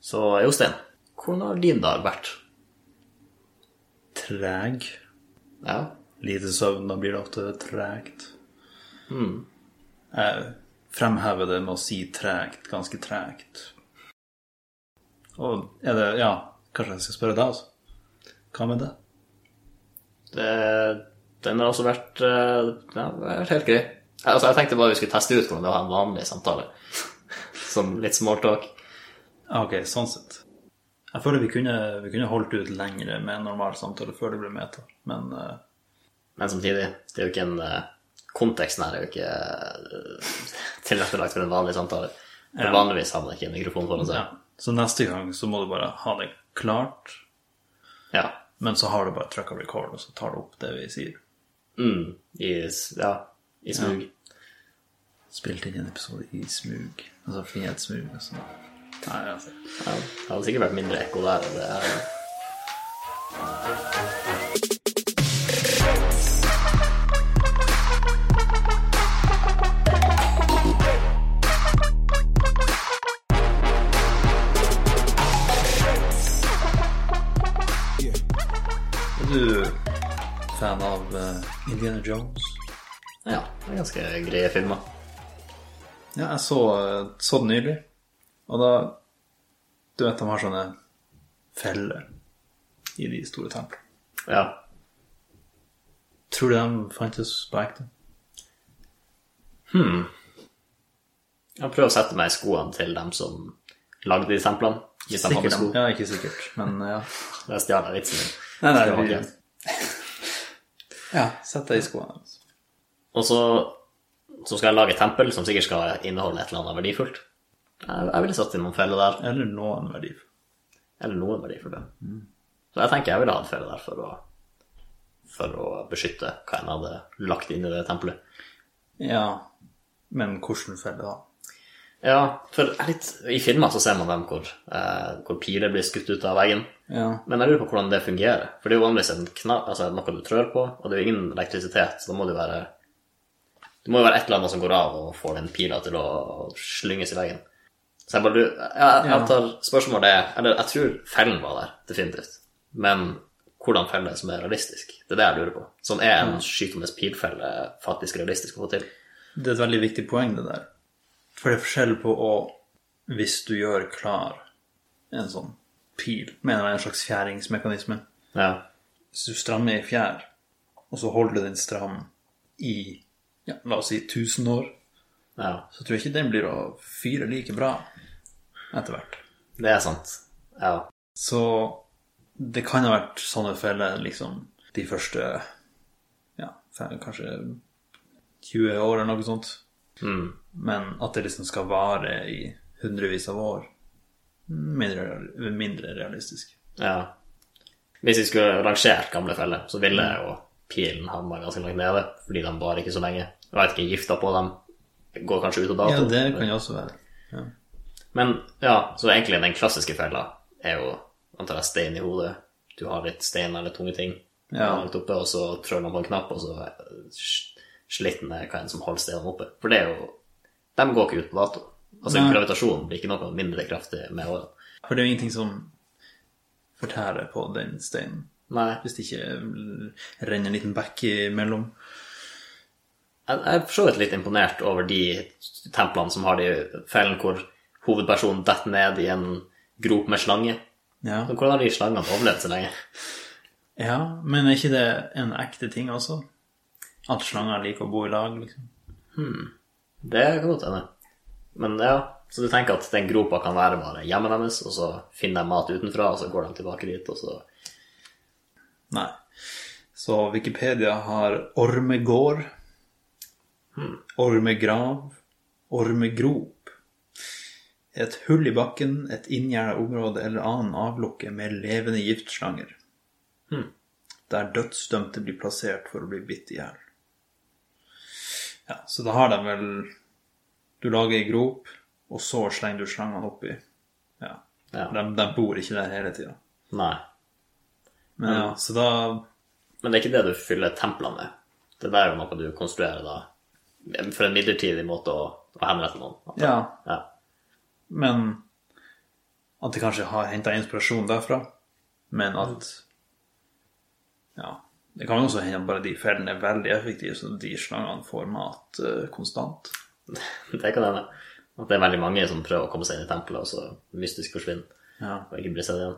Så Jostein, hvordan har din dag vært? Treg. Ja, Lite søvn, da blir det ofte tregt. Jeg fremhever det med å si tregt, ganske tregt. Og er det Ja, kanskje jeg skal spørre deg, altså. Hva med det? det, den har også vært, eh, ja, den har vært helt grei. Altså, jeg tenkte bare vi skulle teste ut hvordan det var å ha en vanlig samtale. Som litt smalltalk. Ja, Ok, sånn sett. Jeg føler vi kunne, vi kunne holdt ut lengre med en normal samtale før det ble meta, men eh, Men samtidig, det er jo ikke en eh, Konteksten her er jo ikke eh, tilrettelagt for en vanlig samtale. For vanligvis har man ikke en mikrofon foran ja. seg. Så neste gang så må du bare ha det klart, Ja. men så har du bare trykka record, og så tar du opp det vi sier. Mm, I, s- ja, i smug. Spilt inn en episode i smug, altså frihetssmug og sånn. Nei, altså. Ja, det hadde sikkert vært mindre ekko der. enn Det er. Er du fan av eh, Indiana Jones? Ja, det er ganske greie filmer. Ja, jeg så, eh, så den nylig, og da Du vet de har sånne feller i de store templene. Ja. Tror du de fantes på ekte? Jeg prøver å sette meg i skoene til dem som lagde de templene. Hvis de hadde Sikkert. sko. Ja, ikke sikkert, men eh, ja. Det stjal jeg vitsen min. Nei, nei, Det var vi- ikke- ja sett deg i skoene. Altså. Og så, så skal jeg lage et tempel som sikkert skal inneholde et eller annet verdifullt. Jeg, jeg ville satt inn noen feller der. Eller noen verdier. Eller noen verdifullt. ja. Mm. Så jeg tenker jeg ville ha en felle der for å, for å beskytte hva en hadde lagt inn i det tempelet. Ja, men hvordan felle da? Ja, for jeg er litt, i filmer så ser man dem hvor, eh, hvor piler blir skutt ut av veggen. Ja. Men jeg lurer på hvordan det fungerer. For det er jo vanligvis en kna altså noe du trør på, og det er jo ingen elektrisitet, så da må det jo være Det må jo være et eller annet som går av og får den pila til å slynges i veggen. Så jeg bare lurer Jeg, jeg Ja. antar spørsmålet er Eller jeg tror fellen var der, definitivt. Men hvordan felle som er realistisk? Det er det jeg lurer på. Som er en skytende pilfelle faktisk realistisk å få til? Det er et veldig viktig poeng, det der. For det er forskjell på å Hvis du gjør klar en sånn pil med en eller annen slags fjæringsmekanisme Ja. Hvis du strammer i fjær, og så holder du den stram i ja, la oss si 1000 år, ja. så tror jeg ikke den blir å fyre like bra etter hvert. Det er sant. Ja. Så det kan ha vært sånne feller liksom de første ja, fe- kanskje 20 år eller noe sånt. Mm. Men at det liksom skal vare i hundrevis av år, mindre, real- mindre realistisk. Ja. Hvis vi skulle rangert gamle feller, så ville jo pilen havna ganske langt nede, fordi de varer ikke så lenge. Jeg vet ikke, gifta på dem går kanskje ut av dato. Ja, det kan jo også være. Ja. Men ja, så egentlig den klassiske fella er jo antar jeg stein i hodet. Du har litt stein eller tunge ting Ja. langt oppe, og så trør man på en knapp, og så eh, sl- sliten er hva enn som holder steinene oppe. For det er jo De går ikke ut på dato. Altså, Nei. gravitasjonen blir ikke noe mindre kraftig med årene. For det er jo ingenting som fortærer på den steinen. Nei. Hvis det ikke renner en liten bekk imellom. Jeg jeg er for så vidt litt imponert over de templene som har de fellene hvor hovedpersonen detter ned i en grop med slange. Ja. Men hvordan har de slangene overlevd så lenge? ja, men er ikke det en ekte ting også? At slanger liker å bo i lag, liksom? Det kan godt hende. Men ja, så du tenker at den gropa kan være bare hjemmet deres, og så finner de mat utenfra, og så går de tilbake dit, og så Nei. Så Wikipedia har ormegård, ormegrav, ormegrop. Et hull i bakken, et inngjerda område eller annen avlukke med levende giftslanger. Der dødsdømte blir plassert for å bli bitt i hjel. Ja, så da har de vel Du lager ei grop, og så slenger du slangene oppi. Ja. Ja. De, de bor ikke der hele tida. Nei. Men ja, så da Men det er ikke det du fyller templene med. Det der er jo noe du konstruerer da for en midlertidig måte å, å henrette noen. Ja, Ja. men At de kanskje har henta inspirasjon derfra, men Mm. at Ja. Det kan jo også hende at bare de fellene er veldig effektive, så de slangene får mat eh, konstant. Det kan hende. At det er veldig mange som prøver å komme seg inn i tempelet, og så mystisk forsvinner. Ja. og ikke bli sett igjen.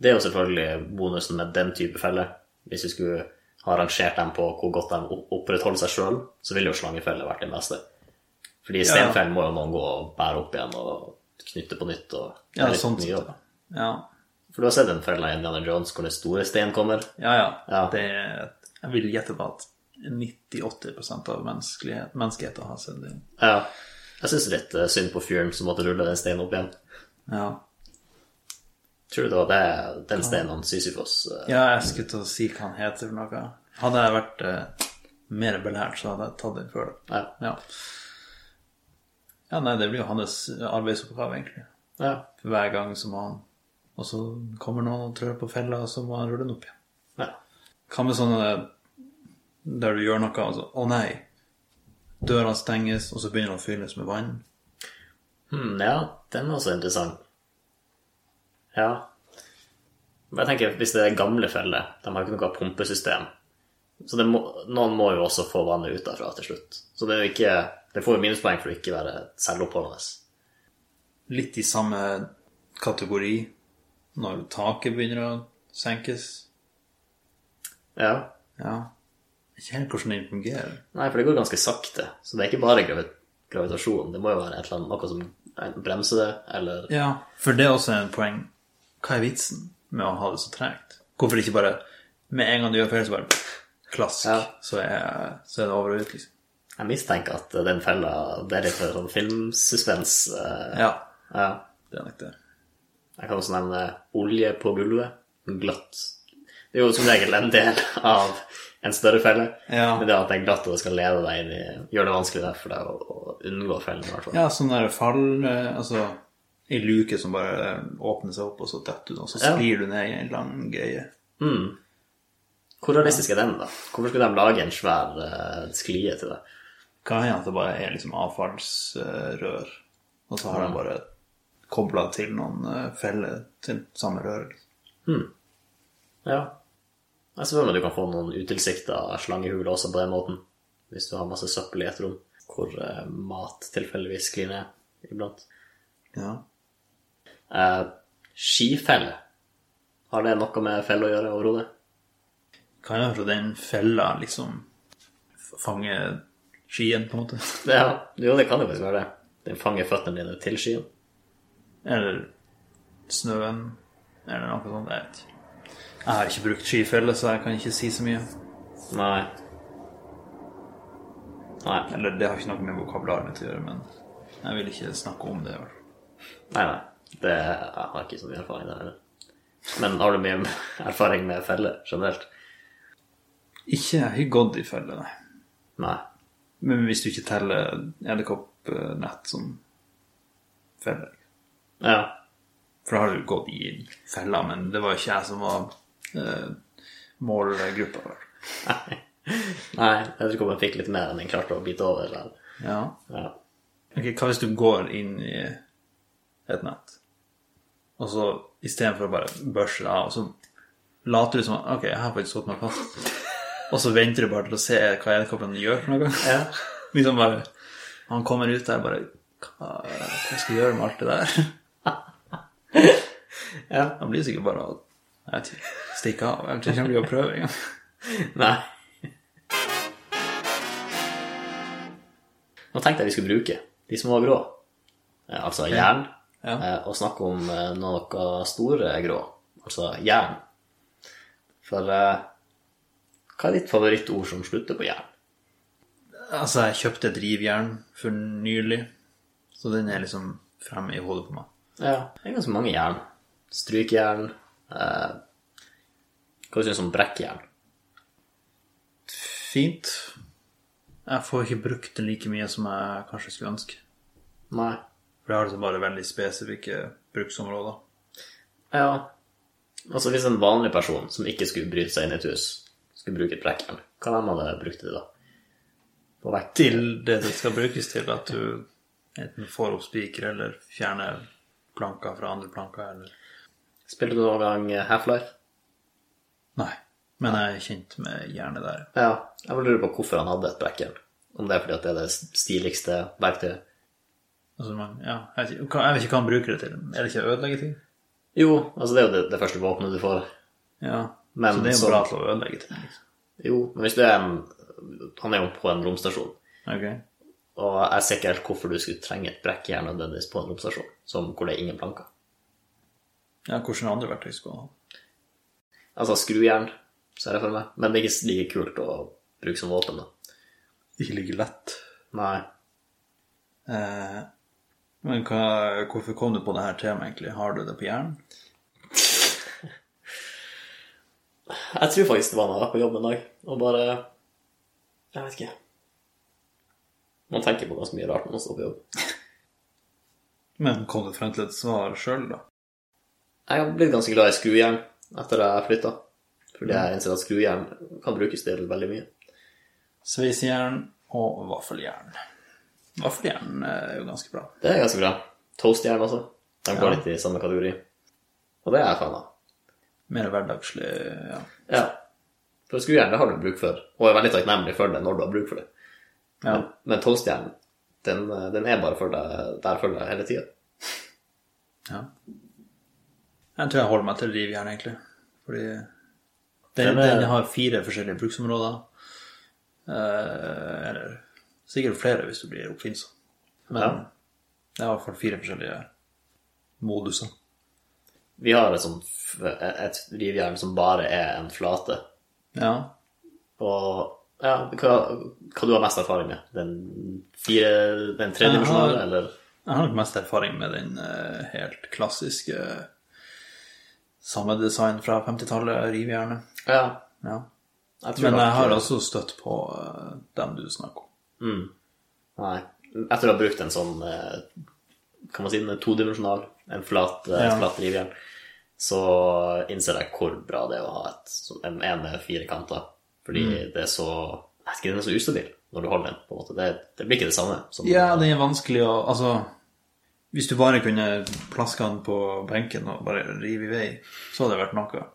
Det er jo selvfølgelig bonusen med den type feller. Hvis vi skulle ha rangert dem på hvor godt de opp- opprettholder seg sjøl, så ville jo slangefeller vært det beste. Fordi ja. stenfellen må jo noen gå og bære opp igjen og knytte på nytt. og det er Ja, litt sånn mye sett. jobb. ja. Ja. For du har sett en felle i Indiana Jones hvor den store steinen kommer. Ja, ja. Ja. Det er, jeg vil gjette på at 98 av menneskelighet- menneskeheten har sett det. Ja. Jeg syns litt eh, synd på fyren som måtte rulle den steinen opp igjen. Ja. Tror du det var det, den steinen han Sisyfos eh, ja, jeg skulle til å si hva han heter for noe. Hadde jeg vært eh, mer belært, så hadde jeg tatt den før. det. Ja. Ja. ja, nei, det blir jo hans arbeidsoppgave, egentlig. ja. For hver gang så må han Og så kommer noen og trør på fella, og så må han rulle den opp igjen. ja. Hva med sånne der du gjør noe, og så Å nei. Døra stenges, og så begynner den å fylles med vann. Hmm, ja, den er også interessant. Ja. Men jeg tenker, hvis det er gamle feller, de har ikke noe pumpesystem, så det må, noen må jo også få vannet ut derfra til slutt. Så det er jo ikke Det får jo minuspoeng for å ikke være selvoppholdende. litt i samme kategori når taket begynner å senkes. Ja. Ja. Jeg kjenner hvordan den fungerer. Nei, for det går ganske sakte, så det er ikke bare gravi gravitasjon. Det må jo være et eller annet, noe som enten bremser det, eller Ja, for det er også en poeng. Hva er vitsen med å ha det så tregt? Hvorfor ikke bare med en gang du gjør feil, så bare klask, Ja. så, er, så er det over og ut, liksom. Jeg mistenker at den fella Det er litt for sånn filmsuspens. eh, Ja, ja. det er nok det. Jeg kan også nevne olje på gulvet. Glatt. Det er jo som regel en del av en større felle. Ja. Men det at det er glatt og det skal lede deg inn i Gjør det vanskelig der for deg å, å unngå fellen, i hvert fall. Ja, sånn der fall eh, Altså, ei luke som bare eh, åpner seg opp, og så detter du, og så Ja. sklir du ned i en lang greie. Mm. Hvor realistisk er den, da? Hvorfor skulle de lage en svær eh, sklie til deg? Kan hende at det bare er liksom avfallsrør, og så har de bare kobla til noen eh, feller til samme rør. liksom? Ja. Jeg ser for meg du kan få noen utilsikta slangehuler også på den måten. Hvis du har masse søppel i et rom hvor eh, mat tilfeldigvis sklir ned iblant. Ja. Eh, skifelle. Har det noe med felle å gjøre overhodet? Kan hende at den fella liksom f- fanger skien, på en måte. Ja, jo, det kan jo faktisk være det. Den fanger føttene dine til skien. Eller snøen, eller noe sånt. Jeg vet ikke. Jeg har ikke brukt skifelle, så jeg kan ikke si så mye. Nei. Nei, nei. Eller det har ikke noe med vokabularet mitt å gjøre, men jeg vil ikke snakke om det. i hvert fall. nei. Det, jeg har ikke så mye erfaring der heller. Men har du mye erfaring med feller generelt? Ikke jeg har gått i felle, nei. Nei. Men hvis du ikke teller edderkoppnett som feller Ja. For da har du gått i fella, men det var jo ikke jeg som var eh, målgruppa. vel. Nei, jeg tror ikke jeg fikk litt mer enn jeg klarte å bite over. der. Ja. Ja. Ok, Hva hvis du går inn i et nett, og så istedenfor å bare børse det av, så later du som at, Ok, jeg har faktisk satt meg fast. Og så venter du bare til å se hva edderkoppen gjør for noe. Ja. Liksom bare Han kommer ut der bare Hva, hva skal jeg gjøre med alt det der? ja. Han blir sikkert bare å jeg vet ikke, stikke av. Jeg tror ikke han blir å prøve engang. Nei. Nå tenkte jeg vi skulle bruke de små grå, eh, altså jern, Ja. eh, og snakke om eh, noe store grå, altså jern. For eh, hva er ditt favorittord som slutter på jern? Altså, jeg kjøpte et rivjern for nylig, så den er liksom fremme i hodet på meg. Ja, det er ganske mange jern. Strykjern. Eh, hva syns du om brekkjern? Fint. Jeg får ikke brukt den like mye som jeg kanskje skulle ønske. Nei. For jeg har liksom bare veldig spesifikke bruksområder. Ja. Altså hvis en vanlig person som ikke skulle bryte seg inn i et hus, skulle bruke et brekkjern, hva hvem hadde brukt det da? På vekt? Til det det skal brukes til, at du enten får opp spiker eller fjerner planker fra andre planker, eller Spilte du noen gang eh, Half-Life? Nei. Men jeg er kjent med jernet der. Ja. Jeg bare lurer på hvorfor han hadde et brekkjern. Om det er fordi at det er det stiligste verktøyet. Altså, man, ja, jeg, vet ikke, jeg vet ikke hva han bruker det til. Er det ikke å ødelegge ting? Jo, altså det er jo det, det første våpenet du får. Ja. Men så det er jo så- bra til å ødelegge ting. Liksom. Jo, men hvis du er en Han er jo på en romstasjon, Ok. og jeg ser ikke helt hvorfor du skulle trenge et brekkjern nødvendigvis på en romstasjon som, hvor det er ingen planker. Ja, hvordan andre verktøy skal man ha? Altså skrujern, ser jeg for meg. Men det er ikke like kult å bruke som våpen, da. Ikke like lett. Nei. Eh, men hva, hvorfor kom du på det her temaet, egentlig? Har du det på hjernen? Jeg tror faktisk det var når jeg var på jobb en dag, og bare Jeg vet ikke. Man tenker på ganske mye rart når man står på jobb. Men kom du frem til et svar sjøl, da? Jeg har blitt ganske glad i skrujern etter at jeg flytta. Fordi jeg innser at skrujern kan brukes til veldig mye. Sveisejern og vaffeljern. Vaffeljern eh, er jo ganske bra. Det er ganske bra. Toastjern også. De går litt i samme kategori. Og det er jeg fan av. Mer hverdagslig, ja. Ja. For skrujern, det har du bruk for, og er veldig takknemlig for det når du har bruk for det. ja. Men, men toastjern, den, den er bare for deg der for deg hele tida. Ja. Jeg tror jeg holder meg til rivjern, egentlig. Fordi den, Den er- den har fire forskjellige bruksområder. Eh, eller sikkert flere hvis du blir oppfinnsom. Men Ja. det er i hvert fall fire forskjellige moduser. Vi har et, sånt, et rivjern som liksom bare er en flate. Ja. Og ja, hva, hva du har mest erfaring med? Den, fire, den tredimensjonale, eller? Jeg har nok mest erfaring med den eh, helt klassiske samme design fra 50-tallet, rivjernet. Ja, Ja. jeg tror Men nok- jeg har også støtt på eh, dem du snakker om. Mm. Nei. Etter å ha brukt en sånn eh, Kan man si den er todimensjonal, en flat, eh, Ja. flat rivjern, så innser jeg hvor bra det er å ha et, som- en en med fire kanter. Fordi Mm. det er så Jeg vet ikke, den er så ustabil når du holder den. på en måte. Det, det blir ikke det samme. Som, Ja, det er vanskelig å Altså, hvis du bare kunne plaske han på benken og bare rive i vei, så hadde det vært noe.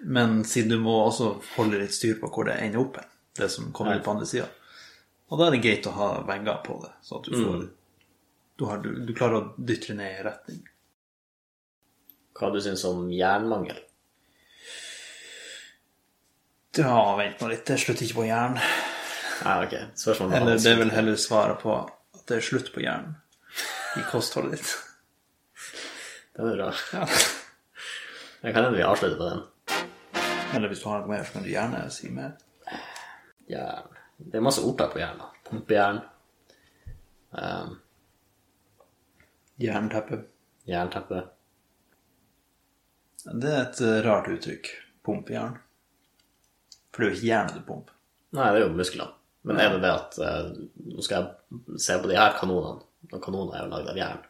Men siden du må også holde litt styr på hvor det ender opp, hen, det som kommer ut på andre sida. Og da er det greit å ha vegger på det, så at du får du, har, du, du klarer å dytte det ned i retning. Hva du syns om jernmangel? Ja, vent nå litt, det er slutt ikke på jern. Nei, ok. Spørsmålet Eller det er vel heller svaret på at det er slutt på jern i kostholdet ditt. Den er bra. Jeg kan hende vi avslutter på den. Eller hvis du har noe mer, så kan du gjerne si mer. Jern. Det er masse ordtak på jern. da. Pumpejern. Um, Jernteppe. jernteppe. Det er et eh, rart uttrykk. Pumpejern. For det er jo ikke jernet du pumper. Nei, det er jo musklene. Men er det det at eh, Nå skal jeg se på de her kanonene. Og kanoner er jo lagd av jern.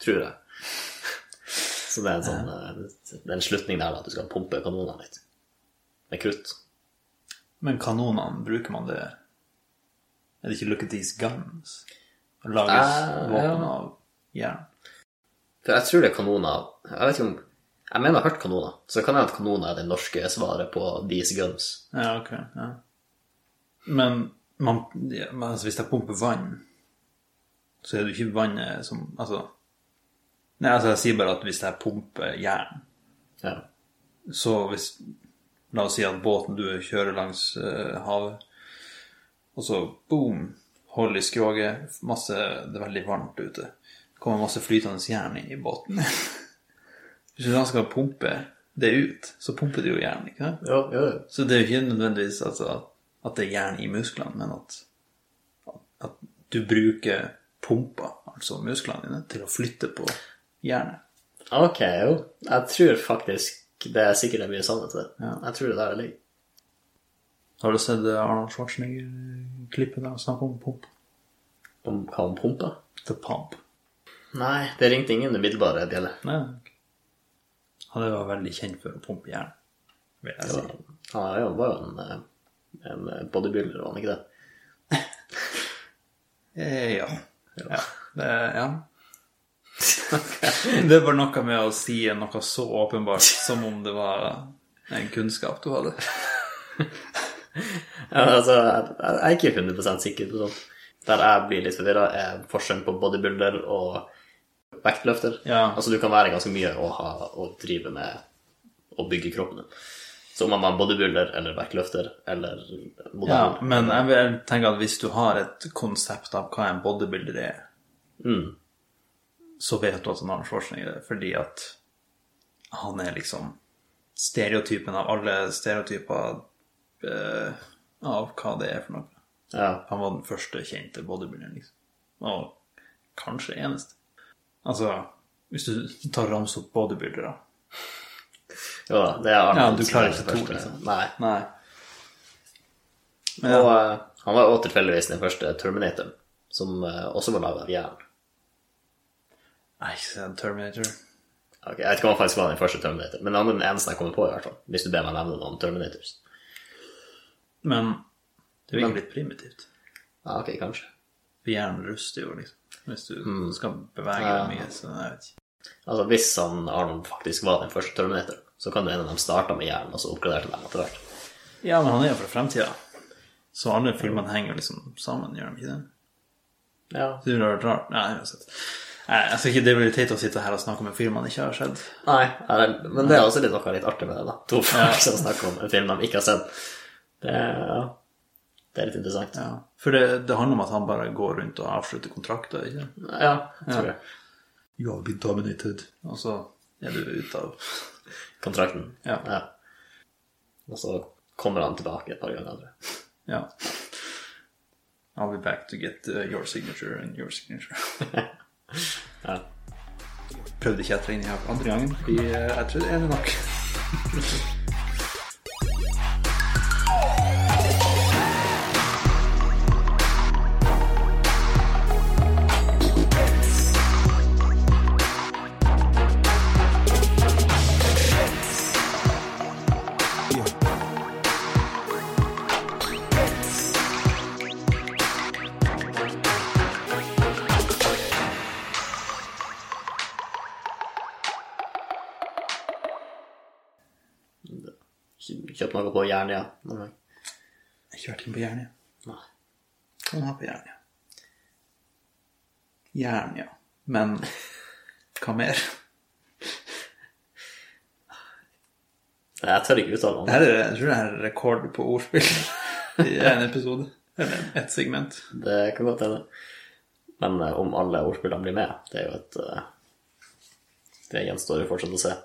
Tror jeg. Så det er en sånn eh, Det er en slutning der, da, at du skal pumpe kanonene litt. Med krutt. Men kanonene, bruker man det Er det ikke look at these guns? Det Lages Eh, våpen ja. av jern? For jeg tror det er kanoner Jeg vet ikke om Jeg mener jeg har hørt kanoner. Så det kan hende at kanoner er det norske svaret på these guns. Ja, ok. Ja. Men, man, ja, men altså, hvis jeg pumper vann, så er det jo ikke vannet som Altså Nei, altså, jeg sier bare at hvis jeg pumper jern Ja. Så hvis La oss si at båten du kjører langs eh, havet, og så boom, hold i skroget, masse Det er veldig varmt ute. Det kommer masse flytende jern inn i båten. hvis du da skal pumpe det ut, så pumper du jo jern, ikke sant? Jo, jo, jo. Så det er jo ikke nødvendigvis altså, at det er jern i musklene, men at, at du bruker pumper, altså musklene dine, til å flytte på jernet. Ok, jo. Jeg tror faktisk det er sikkert det er mye sannhet i det. Jeg tror det er der det ligger. Har du sett eh, Arnold Schwarzenegger-klippet der han snakker om pump? Om hva om pumpa? The Pump. Nei, det ringte ingen umiddelbare bjelle. Nei. ok. Han er jo veldig kjent for å pumpe jern, vil jeg si. Han er jo- var jo en, eh, en eh, bodybuilder, var han ikke det? Eh, Ja. ja. Det, ja. Det var noe med å si noe så åpenbart som om det var en kunnskap du hadde. Ja, altså, jeg, jeg er ikke 100 sikker på sånt. Der jeg blir litt forvirra, er forskjellen på bodybuilder og vektløfter. Ja. Altså, du kan være ganske mye å, ha, å drive med å bygge kroppen din. Så om man er bodybuilder eller vektløfter eller modell Ja, men jeg vil tenke at hvis du har et konsept av hva en bodybuilder er, Mm. så vet du at han har en forskning i det, fordi at han er liksom stereotypen av alle stereotyper eh, av hva det er for noe. ja. Han var den første kjente bodybuilderen, liksom. Og kanskje eneste. Altså, hvis du tar rams opp bodybuildere Jo da, det er Arnold Ja, du som klarer er den ikke to, første. liksom. Nei. Nei. Men Og ja, eh, han var jo også tilfeldigvis den første Terminator, som eh, også var laga av jern. nei, ikke se en Terminator. Ok, jeg vet ikke om han faktisk var den første Terminator, men han er den eneste jeg kommer på, i hvert fall. Hvis du ber meg nevne noen Terminators. Men det er jo ikke litt primitivt. Ja, ok, kanskje. For hjernen ruster jo, liksom. Hvis du skal bevege deg mye, så jeg vet ikke. Altså, hvis han Arnold faktisk var den første Terminator, så kan det hende de starta med jern, og så oppgraderte de etter hvert. Ja, men han er jo fra fremtida. Så alle filmene henger liksom sammen, gjør de ikke det? Ja. Det ville vært rart. Nei, uansett. Nei, jeg skal ikke, det blir teit å sitte her og snakke om en film man ikke har sett. Nei, er det- men det er også litt noe litt artig med det, da. To folk som snakker om en film de ikke har sett. Det er, ja. det er litt interessant. Ja, Ja. For det, det handler om at han bare går rundt og avslutter kontrakter, ikke sant? jeg tror det. You have been dominated. Og så er du ute av Kontrakten. Ja. Og så kommer han tilbake et par ganger. tror jeg. Ja. I'll be back to get uh, your signature and your signature. Ja. Prøvde ikke jeg å trenge her for andre gangen. Vi, uh, jeg tror det er det nok. Kjøp noe på Jernia. Ja. noen gang. Jeg kjørte inn på Jernia. Nei. Kan ha på Jernia. Jernia. Men hva mer? Nei, Jeg tør ikke uttale Det meg om her er, jeg tror det her er rekord på ordspill i en episode. Eller ett segment. det. Det kan godt hende. Men eh, om alle ordspillene blir med, det er jo et eh, Det gjenstår jo fortsatt å se.